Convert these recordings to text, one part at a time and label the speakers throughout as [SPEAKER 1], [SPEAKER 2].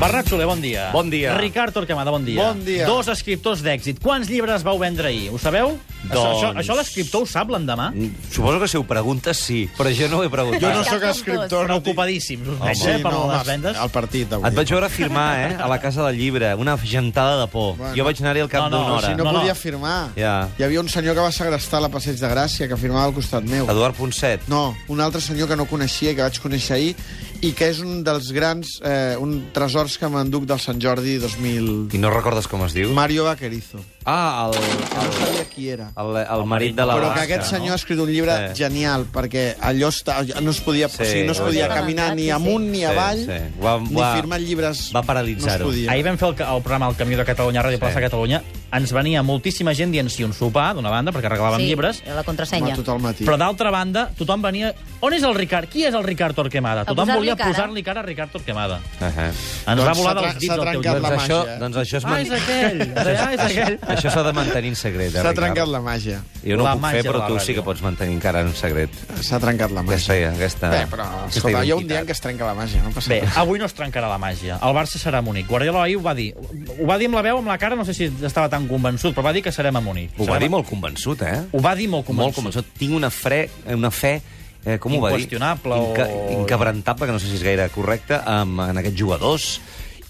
[SPEAKER 1] Bernat Soler, bon dia.
[SPEAKER 2] Bon dia.
[SPEAKER 1] Ricard Torquemada, bon dia.
[SPEAKER 3] Bon dia.
[SPEAKER 1] Dos escriptors d'èxit. Quants llibres vau vendre ahir? Ho sabeu? Això, això,
[SPEAKER 2] Doncs-
[SPEAKER 1] això l'escriptor ho sap l'endemà?
[SPEAKER 2] Suposo que si ho preguntes, sí, però jo no ho he preguntat.
[SPEAKER 3] Jo no
[SPEAKER 4] sóc
[SPEAKER 3] sóc
[SPEAKER 4] escriptor,
[SPEAKER 3] escriptor.
[SPEAKER 1] Preocupadíssims, us veig, eh, per les vendes.
[SPEAKER 3] El partit, avui.
[SPEAKER 2] Et vaig veure firmar, eh, a la Casa del Llibre, una gentada de por.
[SPEAKER 3] Bueno.
[SPEAKER 2] Bueno, jo vaig anar-hi al cap
[SPEAKER 1] No, no,
[SPEAKER 2] d'una hora.
[SPEAKER 3] Si no,
[SPEAKER 1] No, no.
[SPEAKER 3] podia firmar.
[SPEAKER 2] Ja.
[SPEAKER 3] Hi havia un senyor que va segrestar la Passeig de Gràcia, que firmava al costat meu.
[SPEAKER 2] Eduard Ponset.
[SPEAKER 3] No, un altre senyor que no coneixia i que vaig conèixer ahir i que és un dels grans, eh, un tresors que m'enduc del Sant Jordi 2000.
[SPEAKER 2] I no recordes com es diu?
[SPEAKER 3] Mario Vaquerizo.
[SPEAKER 2] Ah, el,
[SPEAKER 3] Que no
[SPEAKER 2] el,
[SPEAKER 3] sabia qui era.
[SPEAKER 2] el, el marit de la
[SPEAKER 3] Però que
[SPEAKER 2] Blanca,
[SPEAKER 3] aquest senyor
[SPEAKER 2] no?
[SPEAKER 3] ha escrit un llibre
[SPEAKER 2] Sí.
[SPEAKER 3] genial, perquè allò està, no es podia,
[SPEAKER 2] Sí,
[SPEAKER 3] o sigui, no es
[SPEAKER 2] ho
[SPEAKER 3] podia
[SPEAKER 2] he
[SPEAKER 3] caminar ni
[SPEAKER 4] comentat, sí,
[SPEAKER 3] amunt ni
[SPEAKER 2] Sí,
[SPEAKER 3] avall,
[SPEAKER 2] sí. Va-
[SPEAKER 3] ni
[SPEAKER 2] va-
[SPEAKER 3] firmar llibres.
[SPEAKER 2] va paralitzar-ho.
[SPEAKER 3] No es podia.
[SPEAKER 1] Ahir vam fer el, ca- el programa El Camió de Catalunya, a Ràdio
[SPEAKER 2] Sí.
[SPEAKER 1] sí. Plaça Catalunya. Ens venia moltíssima gent dient sí un sopar, d'una banda, perquè regalàvem sí. llibres,
[SPEAKER 4] la
[SPEAKER 3] Va
[SPEAKER 4] contrasenya.
[SPEAKER 3] tot el matí.
[SPEAKER 1] però d'altra banda, tothom venia... On és el Ricard? Qui és el Ricard Torquemada?
[SPEAKER 4] A
[SPEAKER 1] Tothom
[SPEAKER 4] posar-li
[SPEAKER 1] volia
[SPEAKER 4] cara.
[SPEAKER 1] posar-li cara a Ricard Torquemada.
[SPEAKER 2] Ahà.
[SPEAKER 1] Ens
[SPEAKER 3] Doncs
[SPEAKER 1] va volar
[SPEAKER 3] s'ha tra-
[SPEAKER 1] dels dits
[SPEAKER 3] s'ha
[SPEAKER 1] el teu
[SPEAKER 3] trencat
[SPEAKER 1] llibre.
[SPEAKER 2] Doncs,
[SPEAKER 3] la eh?
[SPEAKER 2] això,
[SPEAKER 3] màgia.
[SPEAKER 2] doncs això es
[SPEAKER 1] Ah, és
[SPEAKER 2] manté.
[SPEAKER 1] aquell! Ah, és aquell!
[SPEAKER 2] Això s'ha de mantenir en secret, eh,
[SPEAKER 3] S'ha
[SPEAKER 2] Ricard?
[SPEAKER 3] trencat la màgia.
[SPEAKER 2] Jo no
[SPEAKER 1] La
[SPEAKER 2] ho puc
[SPEAKER 1] màgia
[SPEAKER 2] fer,
[SPEAKER 1] de
[SPEAKER 2] però
[SPEAKER 1] la
[SPEAKER 2] tu sí
[SPEAKER 1] ràdio.
[SPEAKER 2] que pots mantenir encara en secret.
[SPEAKER 3] S'ha trencat la màgia.
[SPEAKER 2] Aquesta, aquesta,
[SPEAKER 3] Bé, però,
[SPEAKER 2] aquesta
[SPEAKER 3] escolta, hi ha un
[SPEAKER 2] identitat.
[SPEAKER 3] dia en què es trenca la màgia, no passa
[SPEAKER 1] Bé,
[SPEAKER 3] res.
[SPEAKER 1] avui no es trencarà la màgia. El Barça serà a Múnich. Guardiola ahir ho va dir. Ho va dir amb la veu, amb la cara, no sé si estava tan convençut, però va dir que serem a Múnich.
[SPEAKER 2] Ho va
[SPEAKER 1] Serem
[SPEAKER 2] dir
[SPEAKER 1] a-
[SPEAKER 2] molt convençut, eh?
[SPEAKER 1] Ho va dir molt
[SPEAKER 2] Molt
[SPEAKER 1] convençut.
[SPEAKER 2] convençut. Tinc una, fre, una fe, eh, com ho va dir?
[SPEAKER 1] Inqüestionable o-
[SPEAKER 2] Inquebrantable, que no sé si és gaire correcte, amb, en aquests jugadors.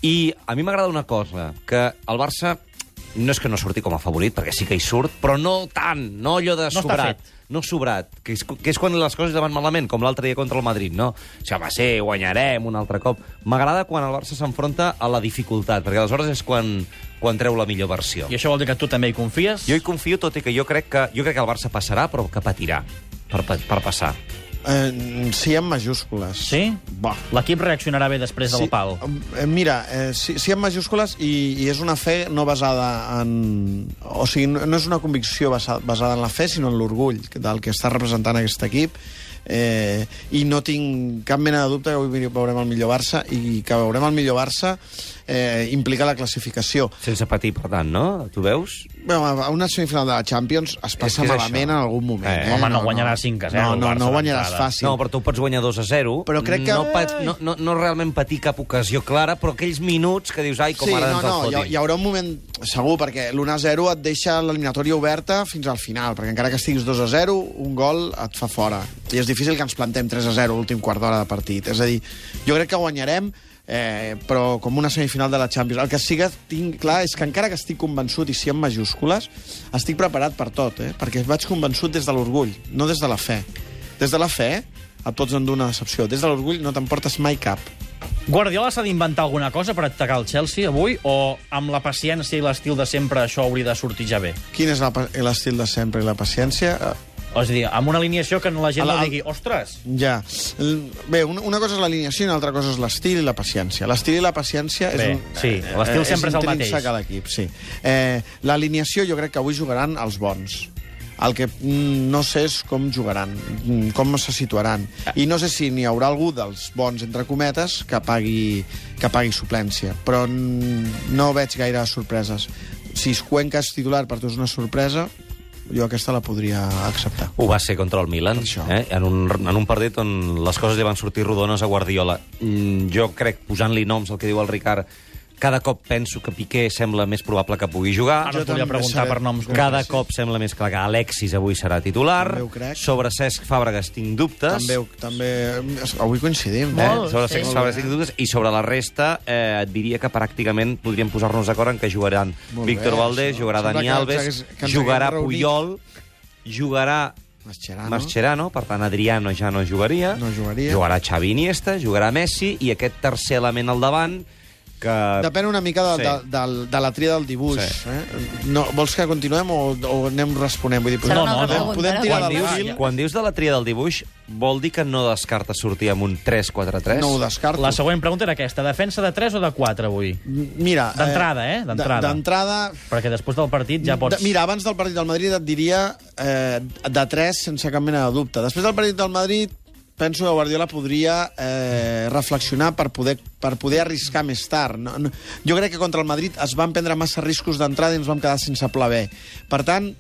[SPEAKER 2] I a mi m'agrada una cosa, que el Barça no és que no surti com a favorit, perquè sí que hi surt, però no tant, no allò de
[SPEAKER 1] està
[SPEAKER 2] sobrat.
[SPEAKER 1] fet.
[SPEAKER 2] No sobrat, que és, que és quan les coses van malament, com l'altre dia contra el Madrid, no? O sigui, va ser, guanyarem un altre cop. M'agrada quan el Barça s'enfronta a la dificultat, perquè aleshores és quan, quan treu la millor versió.
[SPEAKER 1] I això vol dir que tu també hi confies?
[SPEAKER 2] Jo hi confio, tot i que jo crec que, jo crec que el Barça passarà, però que patirà per, pa- per passar.
[SPEAKER 3] Eh, sí, amb majúscules.
[SPEAKER 1] Sí?
[SPEAKER 3] Bah.
[SPEAKER 1] L'equip reaccionarà bé després del pal.
[SPEAKER 3] eh, Mira, eh, sí, sí amb majúscules i, i és una fe no basada en... O sigui, no, no és una convicció basada, basada en la fe, sinó en l'orgull del que està representant aquest equip. Eh, I no tinc cap mena de dubte que avui veurem el millor Barça i que veurem el millor Barça eh, implica la classificació.
[SPEAKER 2] Sense patir, per tant, no? Tu veus?
[SPEAKER 3] Bé, a una semifinal de la Champions es passa
[SPEAKER 2] que és
[SPEAKER 3] malament
[SPEAKER 2] això.
[SPEAKER 3] en algun moment.
[SPEAKER 2] Eh,
[SPEAKER 3] Eh,
[SPEAKER 1] home, no guanyaràs 5 a 0
[SPEAKER 3] No, no,
[SPEAKER 1] el Barça
[SPEAKER 3] no guanyaràs
[SPEAKER 1] d'entrada.
[SPEAKER 3] fàcil.
[SPEAKER 2] No, però tu pots guanyar 2 a 0.
[SPEAKER 3] Però crec que-
[SPEAKER 2] No, pa- no, no, no realment patir cap ocasió clara, però aquells minuts que dius, ai, com
[SPEAKER 3] sí,
[SPEAKER 2] ara
[SPEAKER 3] no,
[SPEAKER 2] ens el
[SPEAKER 3] no, hi,
[SPEAKER 2] fotin.
[SPEAKER 3] hi haurà un moment segur, perquè l'1-0 et deixa l'eliminatòria oberta fins al final, perquè encara que estiguis 2-0, un gol et fa fora. I és difícil que ens plantem 3-0 l'últim quart d'hora de partit. És a dir, jo crec que guanyarem, eh, però com una semifinal de la Champions. El que sí que tinc clar és que encara que estic convençut, i sí amb majúscules, estic preparat per tot, eh? perquè vaig convençut des de l'orgull, no des de la fe. Des de la fe et pots endur una decepció. Des de l'orgull no t'emportes mai cap.
[SPEAKER 1] Guardiola s'ha d'inventar alguna cosa per atacar el Chelsea avui o amb la paciència i l'estil de sempre això hauria de sortir ja bé?
[SPEAKER 3] Quin és la pa- l'estil de sempre i la paciència? Eh,
[SPEAKER 1] O sigui, amb una alineació que la gent
[SPEAKER 3] El-
[SPEAKER 1] no
[SPEAKER 3] el-
[SPEAKER 1] digui ostres,
[SPEAKER 3] Ja. L- Bé, un- una cosa és l'alineació i una altra cosa és l'estil i la paciència. L'estil i la paciència és...
[SPEAKER 1] Bé,
[SPEAKER 3] un-
[SPEAKER 1] sí, l'estil
[SPEAKER 3] eh,
[SPEAKER 1] sempre és el
[SPEAKER 3] intrínsec
[SPEAKER 1] mateix.
[SPEAKER 3] a l'equip, sí. Eh, l'alineació jo crec que avui jugaran els bons. El que mm, no sé és com jugaran, mm, com se situaran.
[SPEAKER 1] Ah.
[SPEAKER 3] I no sé si n'hi haurà algú dels bons, entre cometes, que pagui, que pagui suplència. Però mm, no veig gaire sorpreses. Si Cuenca és titular per tu és una sorpresa, jo aquesta la podria acceptar.
[SPEAKER 2] Ho va ser contra el Milan,
[SPEAKER 3] Per això.
[SPEAKER 2] eh? en, un, en un partit on les coses li van sortir rodones a Guardiola. Mm, jo crec, posant-li noms al que diu el Ricard, cada cop penso que Piqué sembla més probable que pugui jugar.
[SPEAKER 1] ara
[SPEAKER 3] jo
[SPEAKER 1] us volia
[SPEAKER 3] també
[SPEAKER 1] preguntar
[SPEAKER 3] sabem.
[SPEAKER 1] per noms.
[SPEAKER 2] Cada cop sembla més clar que Alexis avui serà titular.
[SPEAKER 3] També ho crec.
[SPEAKER 2] Sobre Cesc Fàbregas tinc dubtes.
[SPEAKER 3] També, també... Avui coincidim.
[SPEAKER 2] Eh?
[SPEAKER 4] Molt,
[SPEAKER 2] Sobre
[SPEAKER 4] sí.
[SPEAKER 2] Cesc Fàbregas tinc dubtes. I sobre la resta eh, et diria que pràcticament podríem posar-nos d'acord en que jugaran
[SPEAKER 3] Molt bé,
[SPEAKER 2] Víctor Valdés,
[SPEAKER 3] això.
[SPEAKER 2] jugarà
[SPEAKER 3] Sembla
[SPEAKER 2] Dani
[SPEAKER 3] que ens
[SPEAKER 2] Alves,
[SPEAKER 3] hagués- que ens
[SPEAKER 2] jugarà
[SPEAKER 3] haguem reunit.
[SPEAKER 2] Puyol, jugarà
[SPEAKER 3] Mascherano.
[SPEAKER 2] Mascherano, per tant Adriano ja no jugaria.
[SPEAKER 3] No jugaria.
[SPEAKER 2] Jugarà Xavi Iniesta, jugarà Messi i aquest tercer element al davant que...
[SPEAKER 3] Depèn una mica de,
[SPEAKER 2] Sí.
[SPEAKER 3] sí. de, de, de la tria del dibuix.
[SPEAKER 2] Sí.
[SPEAKER 3] Sí. Eh? No, vols que continuem o, o anem responent? Vull dir,
[SPEAKER 4] Serà
[SPEAKER 1] No,
[SPEAKER 4] una
[SPEAKER 1] no,
[SPEAKER 4] altra
[SPEAKER 1] no.
[SPEAKER 4] pregunta.
[SPEAKER 3] Podem
[SPEAKER 4] ara.
[SPEAKER 3] tirar
[SPEAKER 2] Quan
[SPEAKER 3] de
[SPEAKER 2] dius,
[SPEAKER 3] l'àgil.
[SPEAKER 2] quan dius de la tria del dibuix, vol dir que no descarta sortir amb un 3-4-3?
[SPEAKER 3] no ho descarto.
[SPEAKER 1] La següent pregunta era aquesta, defensa de 3 o de 4 avui?
[SPEAKER 3] Mira,
[SPEAKER 1] D'entrada, eh?
[SPEAKER 3] d-
[SPEAKER 1] D'entrada.
[SPEAKER 3] D'entrada,
[SPEAKER 1] Perquè després del partit ja pots...
[SPEAKER 3] De- Mira, abans del partit del Madrid et diria eh, de 3 sense cap mena de dubte. Després del partit del Madrid penso que Guardiola podria eh, reflexionar per poder, per poder arriscar més tard. No, no, jo crec que contra el Madrid es van prendre massa riscos d'entrada i ens vam quedar sense pla B. Per tant,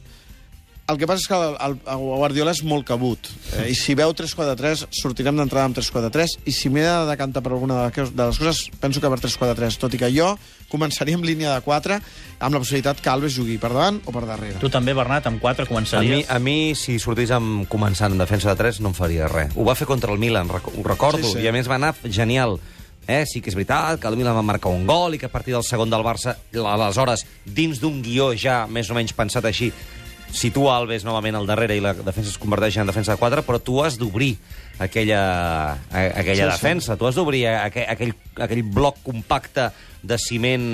[SPEAKER 3] El que passa és que el, el, el Guardiola és molt cabut. Eh, I si veu 3-4-3, sortirem d'entrada amb 3-4-3, i si m'he de decantar per alguna de les, cos- de les coses, penso que per 3-4-3, tot i que jo començaria amb línia de 4, amb la possibilitat que Alves jugui per davant o per darrere.
[SPEAKER 1] Tu també, Bernat, amb 4
[SPEAKER 2] A mi,
[SPEAKER 1] començaries.
[SPEAKER 2] a mi, si sortís amb començant en defensa de 3, no em faria res. Ho va fer contra el Milan, rec ho recordo, sí,
[SPEAKER 3] Sí, sí.
[SPEAKER 2] sí. i a més va anar genial. Eh, sí que és veritat que el Milan va marcar un gol i que a partir del segon del Barça, aleshores, dins d'un guió ja més o menys pensat així, situa Alves novament al darrere i la defensa es converteix en defensa de 4, però tu has d'obrir aquella, a, aquella
[SPEAKER 3] Sí,
[SPEAKER 2] sí,
[SPEAKER 3] sí.
[SPEAKER 2] defensa, tu has d'obrir aquell, aquell, aquell bloc compacte de ciment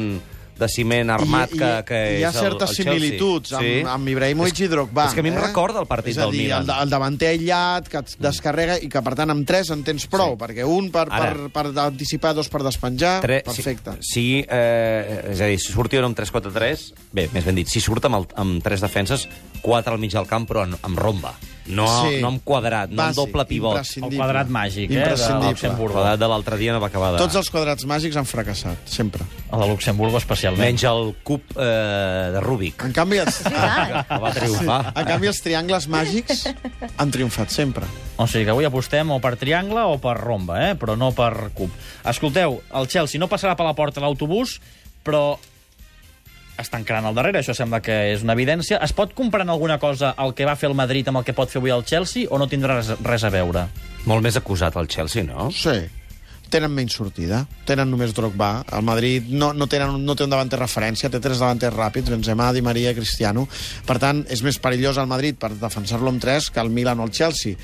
[SPEAKER 2] de ciment armat
[SPEAKER 3] I- i-
[SPEAKER 2] que, que
[SPEAKER 3] hi ha
[SPEAKER 2] és el, el
[SPEAKER 3] certes
[SPEAKER 2] Chelsea.
[SPEAKER 3] similituds amb, amb Ibrahimovic
[SPEAKER 2] És-
[SPEAKER 3] i Drogba.
[SPEAKER 2] És que a mi em
[SPEAKER 3] eh?
[SPEAKER 2] recorda el partit
[SPEAKER 3] és a
[SPEAKER 2] del
[SPEAKER 3] dir,
[SPEAKER 2] Milan. Mm.
[SPEAKER 3] El, el davanter aïllat, que et descarrega, i que, per tant, amb tres en tens prou,
[SPEAKER 2] Sí.
[SPEAKER 3] perquè un per,
[SPEAKER 2] Ara.
[SPEAKER 3] per, per anticipar, dos per despenjar,
[SPEAKER 2] Tre-
[SPEAKER 3] perfecte.
[SPEAKER 2] Si, si, eh, és a dir, si sortia amb 3-4-3, bé, més ben dit, si surt amb, el, amb tres defenses, quatre al mig del camp, però en- amb romba. No,
[SPEAKER 3] Sí.
[SPEAKER 2] sí. no amb quadrat, no
[SPEAKER 3] Bàsic,
[SPEAKER 2] amb doble pivot.
[SPEAKER 1] El quadrat màgic, eh, de
[SPEAKER 3] Imprescindible.
[SPEAKER 2] El
[SPEAKER 1] Luxemburg.
[SPEAKER 2] quadrat de l'altre dia no va acabar de...
[SPEAKER 3] Tots els quadrats màgics han fracassat, sempre.
[SPEAKER 1] El de Luxemburgo especialment.
[SPEAKER 2] Menys el cub eh, de Rubik,
[SPEAKER 3] En canvi, els,
[SPEAKER 2] que, que va triomfar.
[SPEAKER 3] en canvi, els triangles màgics han triomfat sempre.
[SPEAKER 1] O sigui que avui apostem o per triangle o per romba, eh? però no per cub. Escolteu, el Chelsea no passarà per la porta l'autobús, però es tancaran al darrere, això sembla que és una evidència. Es pot comparar en alguna cosa el que va fer el Madrid amb el que pot fer avui el Chelsea o no tindrà res, res a veure?
[SPEAKER 2] Molt més acusat el Chelsea, no?
[SPEAKER 3] Sí. Tenen menys sortida, tenen només Drogba. El Madrid no, no, tenen, no té un davanter referència, té tres davanters ràpids, Benzema, Di Maria, Cristiano. Per tant, és més perillós el Madrid per defensar-lo amb tres que el Milan o el Chelsea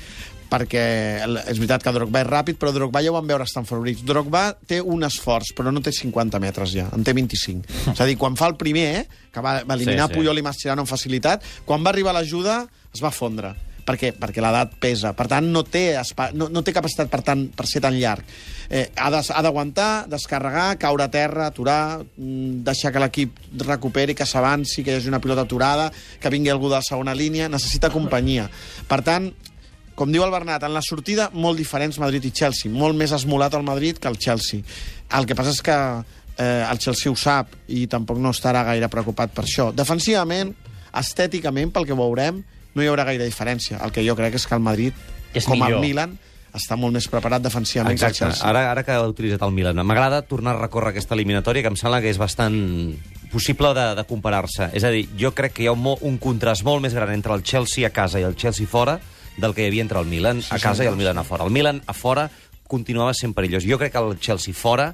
[SPEAKER 3] perquè el- és veritat que Drogba és ràpid, però Drogba ja ho vam veure a Stanford Bridge. Drogba té un esforç, però no té 50 metres ja, en té 25. És a dir, quan fa el primer, que va, va eliminar
[SPEAKER 2] Sí, sí.
[SPEAKER 3] sí, sí. Puyol i Mascherano amb facilitat, quan va arribar l'ajuda es va fondre perquè, perquè l'edat pesa. Per tant, no té, espa, no, no té capacitat per, tant, per ser tan llarg. Eh, ha de- ha d'aguantar, descarregar, caure a terra, aturar, mm, deixar que l'equip recuperi, que s'avanci, que hi hagi una pilota aturada, que vingui algú de la segona línia. Necessita companyia. Per tant, com diu el Bernat, en la sortida, molt diferents Madrid i Chelsea. Molt més esmolat el Madrid que el Chelsea. El que passa és que eh, el Chelsea ho sap i tampoc no estarà gaire preocupat per això. Defensivament, estèticament, pel que veurem, no hi haurà gaire diferència. El que jo crec és que el Madrid,
[SPEAKER 1] És
[SPEAKER 3] com
[SPEAKER 1] millor.
[SPEAKER 3] el Milan, està molt més preparat defensivament que
[SPEAKER 2] Exacte,
[SPEAKER 3] el Chelsea.
[SPEAKER 2] ara, ara que ha utilitzat el Milan. M'agrada tornar a recórrer aquesta eliminatòria, que em sembla que és bastant possible de, de comparar-se. És a dir, jo crec que hi ha un, mo- un contrast molt més gran entre el Chelsea a casa i el Chelsea fora del que hi havia entre el Milan a casa i el Milan a fora. El Milan a fora continuava sent perillós. Jo crec que el Chelsea fora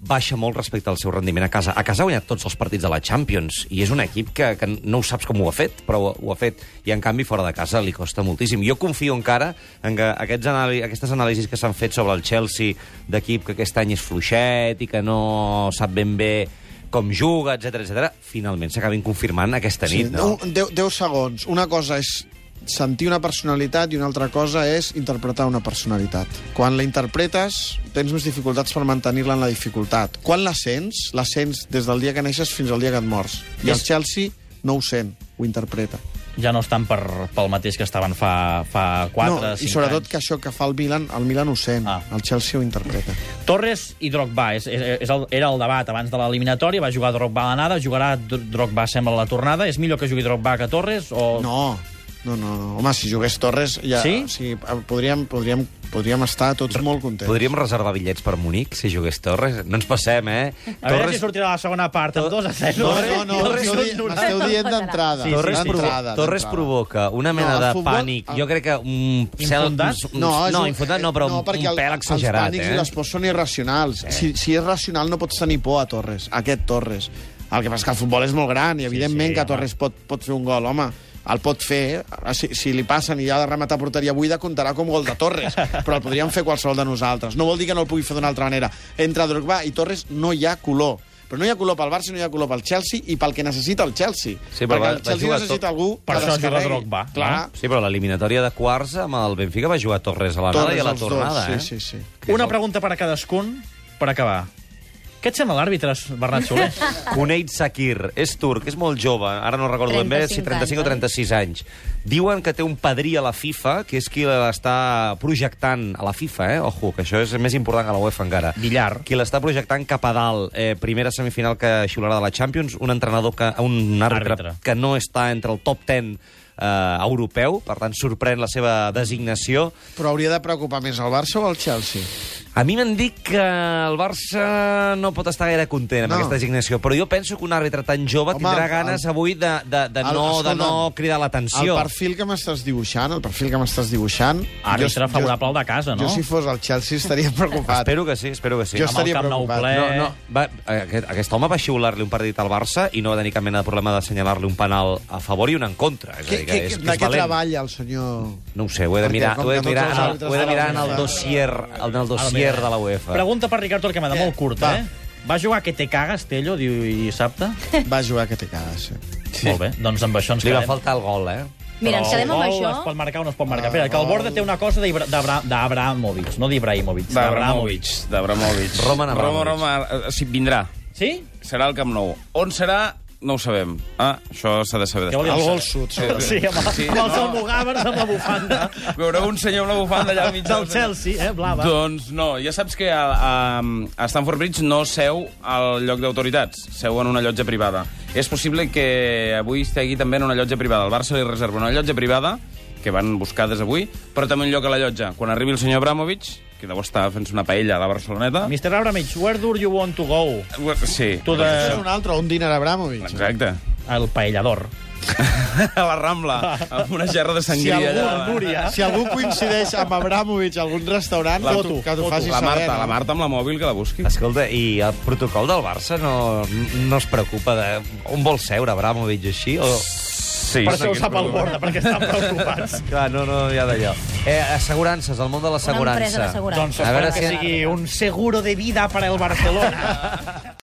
[SPEAKER 2] baixa molt respecte al seu rendiment a casa. A casa ha guanyat tots els partits de la Champions i és un equip que, que no ho saps com ho ha fet, però ho, ho ha fet. I, en canvi, fora de casa li costa moltíssim. Jo confio encara en que aquests anàli aquestes anàlisis que s'han fet sobre el Chelsea d'equip que aquest any és fluixet i que no sap ben bé com juga, etc etc, finalment s'acabin confirmant aquesta nit, no?
[SPEAKER 3] un- deu- deu segons. Una cosa és sentir una personalitat i una altra cosa és interpretar una personalitat. Quan la interpretes, tens més dificultats per mantenir-la en la dificultat. Quan la sents, la sents des del dia que neixes fins al dia que et mors. I el
[SPEAKER 1] És-
[SPEAKER 3] Chelsea no ho sent, ho interpreta.
[SPEAKER 1] Ja no estan per, pel mateix que estaven fa, fa 4,
[SPEAKER 3] no,
[SPEAKER 1] 5
[SPEAKER 3] I sobretot
[SPEAKER 1] anys.
[SPEAKER 3] que això que fa el Milan, el Milan ho sent,
[SPEAKER 1] Ah.
[SPEAKER 3] ah. el Chelsea ho interpreta.
[SPEAKER 1] Torres i Drogba, és, és, és el, era el debat abans de l'eliminatòria, va jugar Drogba a l'anada, jugarà Dr- Drogba, sembla, a la tornada. És millor que jugui Drogba que Torres? O...
[SPEAKER 3] No, no, no, no. Home, si jugués Torres, ja,
[SPEAKER 1] Oh. Sí?
[SPEAKER 3] o sigui, podríem, podríem, podríem estar tots molt contents.
[SPEAKER 2] Podríem reservar bitllets per Munic si jugués Torres? No ens passem, eh?
[SPEAKER 1] A veure si sortirà la segona part amb 2 a 0.
[SPEAKER 3] No, no, no,
[SPEAKER 1] Torres
[SPEAKER 3] m'esteu di-
[SPEAKER 1] contunent.
[SPEAKER 3] m'esteu dient d'entrada.
[SPEAKER 1] Sí, sí,
[SPEAKER 2] Torres,
[SPEAKER 1] sí.
[SPEAKER 2] provo-
[SPEAKER 3] d'entrada,
[SPEAKER 2] Torres
[SPEAKER 3] d'entrada.
[SPEAKER 2] provoca una mena
[SPEAKER 3] No, el
[SPEAKER 2] de
[SPEAKER 3] futbol-
[SPEAKER 2] pànic.
[SPEAKER 3] el-
[SPEAKER 2] Jo crec que un
[SPEAKER 1] Infundat?
[SPEAKER 2] Uns, uns,
[SPEAKER 3] No, és
[SPEAKER 2] no
[SPEAKER 3] un-
[SPEAKER 2] infundat no, però
[SPEAKER 3] no,
[SPEAKER 2] un,
[SPEAKER 3] perquè
[SPEAKER 2] un
[SPEAKER 3] el-
[SPEAKER 2] pèl
[SPEAKER 3] Els
[SPEAKER 2] exagerat,
[SPEAKER 3] pànics
[SPEAKER 2] eh?
[SPEAKER 3] i les pors són irracionals. Si, si és racional no pots tenir por a Torres, a aquest Torres. El que passa és que el futbol és molt gran i evidentment
[SPEAKER 1] sí,
[SPEAKER 3] sí, que
[SPEAKER 1] home.
[SPEAKER 3] Torres pot, pot fer un gol, home. El pot fer, eh? si, si li passen i ha de rematar porteria buida, comptarà com gol de Torres, però el podríem fer qualsevol de nosaltres. No vol dir que no el pugui fer d'una altra manera. Entre Drogba i Torres no hi ha color. Però no hi ha color pel Barça, no hi ha color pel Chelsea i pel que necessita el Chelsea.
[SPEAKER 2] Sí, però va- va
[SPEAKER 3] perquè el Chelsea
[SPEAKER 2] jugar tot-
[SPEAKER 3] necessita algú
[SPEAKER 1] Per
[SPEAKER 3] que
[SPEAKER 1] això juga
[SPEAKER 3] descarregui.
[SPEAKER 1] Drogba, no?
[SPEAKER 3] Clar,
[SPEAKER 2] Sí, però l'eliminatòria de quarts amb el Benfica va jugar Torres a l'anada i a la
[SPEAKER 3] els
[SPEAKER 2] tornada,
[SPEAKER 3] dos,
[SPEAKER 2] eh?
[SPEAKER 3] sí, sí, sí.
[SPEAKER 1] Una pregunta per a cadascun, per acabar. Què et sembla l'àrbitre, Bernat Soler?
[SPEAKER 2] Cuneit Sakir, és turc, és molt jove, ara no recordo ben bé si 35 o
[SPEAKER 4] 35
[SPEAKER 2] 36 anys. Diuen que té un padrí a la FIFA, que és qui l'està projectant a la FIFA, eh? Ojo, que això és més important que la UEFA encara.
[SPEAKER 1] Villar.
[SPEAKER 2] Qui l'està projectant cap a dalt, eh, primera semifinal que xiularà de la Champions, un entrenador que... un àrbitre,
[SPEAKER 1] Àrbitre.
[SPEAKER 2] que no està entre el top 10 eh, europeu, per tant sorprèn la seva designació.
[SPEAKER 3] Però hauria de preocupar més el Barça o el Chelsea?
[SPEAKER 2] A mi m'han dit que el Barça no pot estar gaire content amb
[SPEAKER 3] No.
[SPEAKER 2] aquesta designació, però jo penso que un àrbitre tan jove
[SPEAKER 3] Home,
[SPEAKER 2] tindrà
[SPEAKER 3] el-
[SPEAKER 2] ganes avui de, de, de,
[SPEAKER 3] el-
[SPEAKER 2] no, de
[SPEAKER 3] escolta'm,
[SPEAKER 2] no cridar
[SPEAKER 3] El
[SPEAKER 2] l'atenció.
[SPEAKER 3] perfil que m'estàs dibuixant, el perfil que m'estàs dibuixant...
[SPEAKER 1] Àrbitre favorable al de casa, no?
[SPEAKER 3] Jo, si fos el Chelsea, estaria preocupat.
[SPEAKER 2] Espero que sí, espero que sí.
[SPEAKER 3] Jo
[SPEAKER 1] Amb el
[SPEAKER 3] estaria
[SPEAKER 1] Camp Nou
[SPEAKER 3] preocupat.
[SPEAKER 1] ple...
[SPEAKER 2] No, no, va, aquest, aquest home va xiular-li un partit al Barça i no va tenir cap mena de problema d'assenyalar-li un penal a favor i un en contra. És a
[SPEAKER 3] Què,
[SPEAKER 2] dir,
[SPEAKER 3] què,
[SPEAKER 2] que és,
[SPEAKER 3] de
[SPEAKER 2] que és
[SPEAKER 3] què
[SPEAKER 2] valent.
[SPEAKER 3] treballa el senyor...
[SPEAKER 2] No ho sé, ho he de
[SPEAKER 3] Perquè
[SPEAKER 2] mirar,
[SPEAKER 3] com
[SPEAKER 2] ho he
[SPEAKER 3] que
[SPEAKER 2] de
[SPEAKER 3] tots
[SPEAKER 2] mirar,
[SPEAKER 3] els eh?
[SPEAKER 2] en el,
[SPEAKER 3] àrbitres
[SPEAKER 2] ho he de
[SPEAKER 3] de la
[SPEAKER 2] mirar en el
[SPEAKER 3] UEFA-
[SPEAKER 2] dossier, en el dossier de la UEFA.
[SPEAKER 1] Pregunta per Ricard Torquemada,
[SPEAKER 3] Eh,
[SPEAKER 1] molt curta,
[SPEAKER 3] va.
[SPEAKER 1] eh? Va jugar que te cagas, Tello, diu dissabte?
[SPEAKER 3] Va jugar que té cara, sí.
[SPEAKER 1] Sí. Molt bé, doncs amb això ens
[SPEAKER 2] Li va
[SPEAKER 1] quedem.
[SPEAKER 2] faltar el gol, eh?
[SPEAKER 4] Mira, ens
[SPEAKER 1] Però
[SPEAKER 4] quedem amb
[SPEAKER 1] el gol Es
[SPEAKER 4] això.
[SPEAKER 1] pot marcar o no es pot marcar. Espera, que el Borda té una cosa d'Ibra- d'Abra- d'Abramovic, no d'Ibrahimovic.
[SPEAKER 5] D'Abramovic. D'Abramovic.
[SPEAKER 2] Roman Abramovich.
[SPEAKER 5] Roma, Roma, eh, sí, vindrà.
[SPEAKER 1] Sí?
[SPEAKER 5] Serà al Camp Nou. On serà, no ho sabem. Ah, això s'ha de saber.
[SPEAKER 1] Què vol dir?
[SPEAKER 3] El gol sud, sobretot.
[SPEAKER 1] Sí, amb, sí, amb els almogàvers, amb la bufanda.
[SPEAKER 5] Ah, Veureu un senyor amb la bufanda allà al mig
[SPEAKER 1] Del Chelsea, eh, blava.
[SPEAKER 5] Doncs no, ja saps que a, a, a Stanford Bridge no seu al lloc d'autoritats, seu en una llotja privada. És possible que avui estigui també en una llotja privada. El Barça li reserva una llotja privada, que van buscar des d'avui, però també un lloc a la llotja. Quan arribi el senyor Abramovich, que deu estar fent una paella a la Barceloneta...
[SPEAKER 1] Mr. Abramovich, where do you want to go?
[SPEAKER 5] Sí.
[SPEAKER 1] Tu de...
[SPEAKER 3] És un altre, un Dinar Abramovich.
[SPEAKER 5] Exacte.
[SPEAKER 1] El paellador.
[SPEAKER 5] a la Rambla, amb una gerra de
[SPEAKER 3] Si
[SPEAKER 5] sangria.
[SPEAKER 3] algú,
[SPEAKER 5] allà.
[SPEAKER 1] Núria.
[SPEAKER 3] si algú coincideix amb Abramovich a algun restaurant,
[SPEAKER 5] La-
[SPEAKER 3] que t'ho- que t'ho
[SPEAKER 1] foto,
[SPEAKER 3] faci
[SPEAKER 5] eh? la
[SPEAKER 3] saber.
[SPEAKER 5] Marta,
[SPEAKER 3] no?
[SPEAKER 5] la
[SPEAKER 1] eh?
[SPEAKER 5] Marta amb la mòbil que la busqui.
[SPEAKER 2] Escolta, i el protocol del Barça no, no es preocupa de... On vol seure, Abramovic, així? O...
[SPEAKER 5] Sí,
[SPEAKER 1] Per això ho sap el Borda, perquè estan preocupats.
[SPEAKER 2] Clar, no, no, ja d'allò. Eh, assegurances, el món de
[SPEAKER 4] Una
[SPEAKER 2] l'assegurança.
[SPEAKER 4] empresa d'assegurança.
[SPEAKER 1] Doncs
[SPEAKER 2] A veure
[SPEAKER 1] esperem que
[SPEAKER 2] si-
[SPEAKER 1] sigui un seguro de vida per al Barcelona.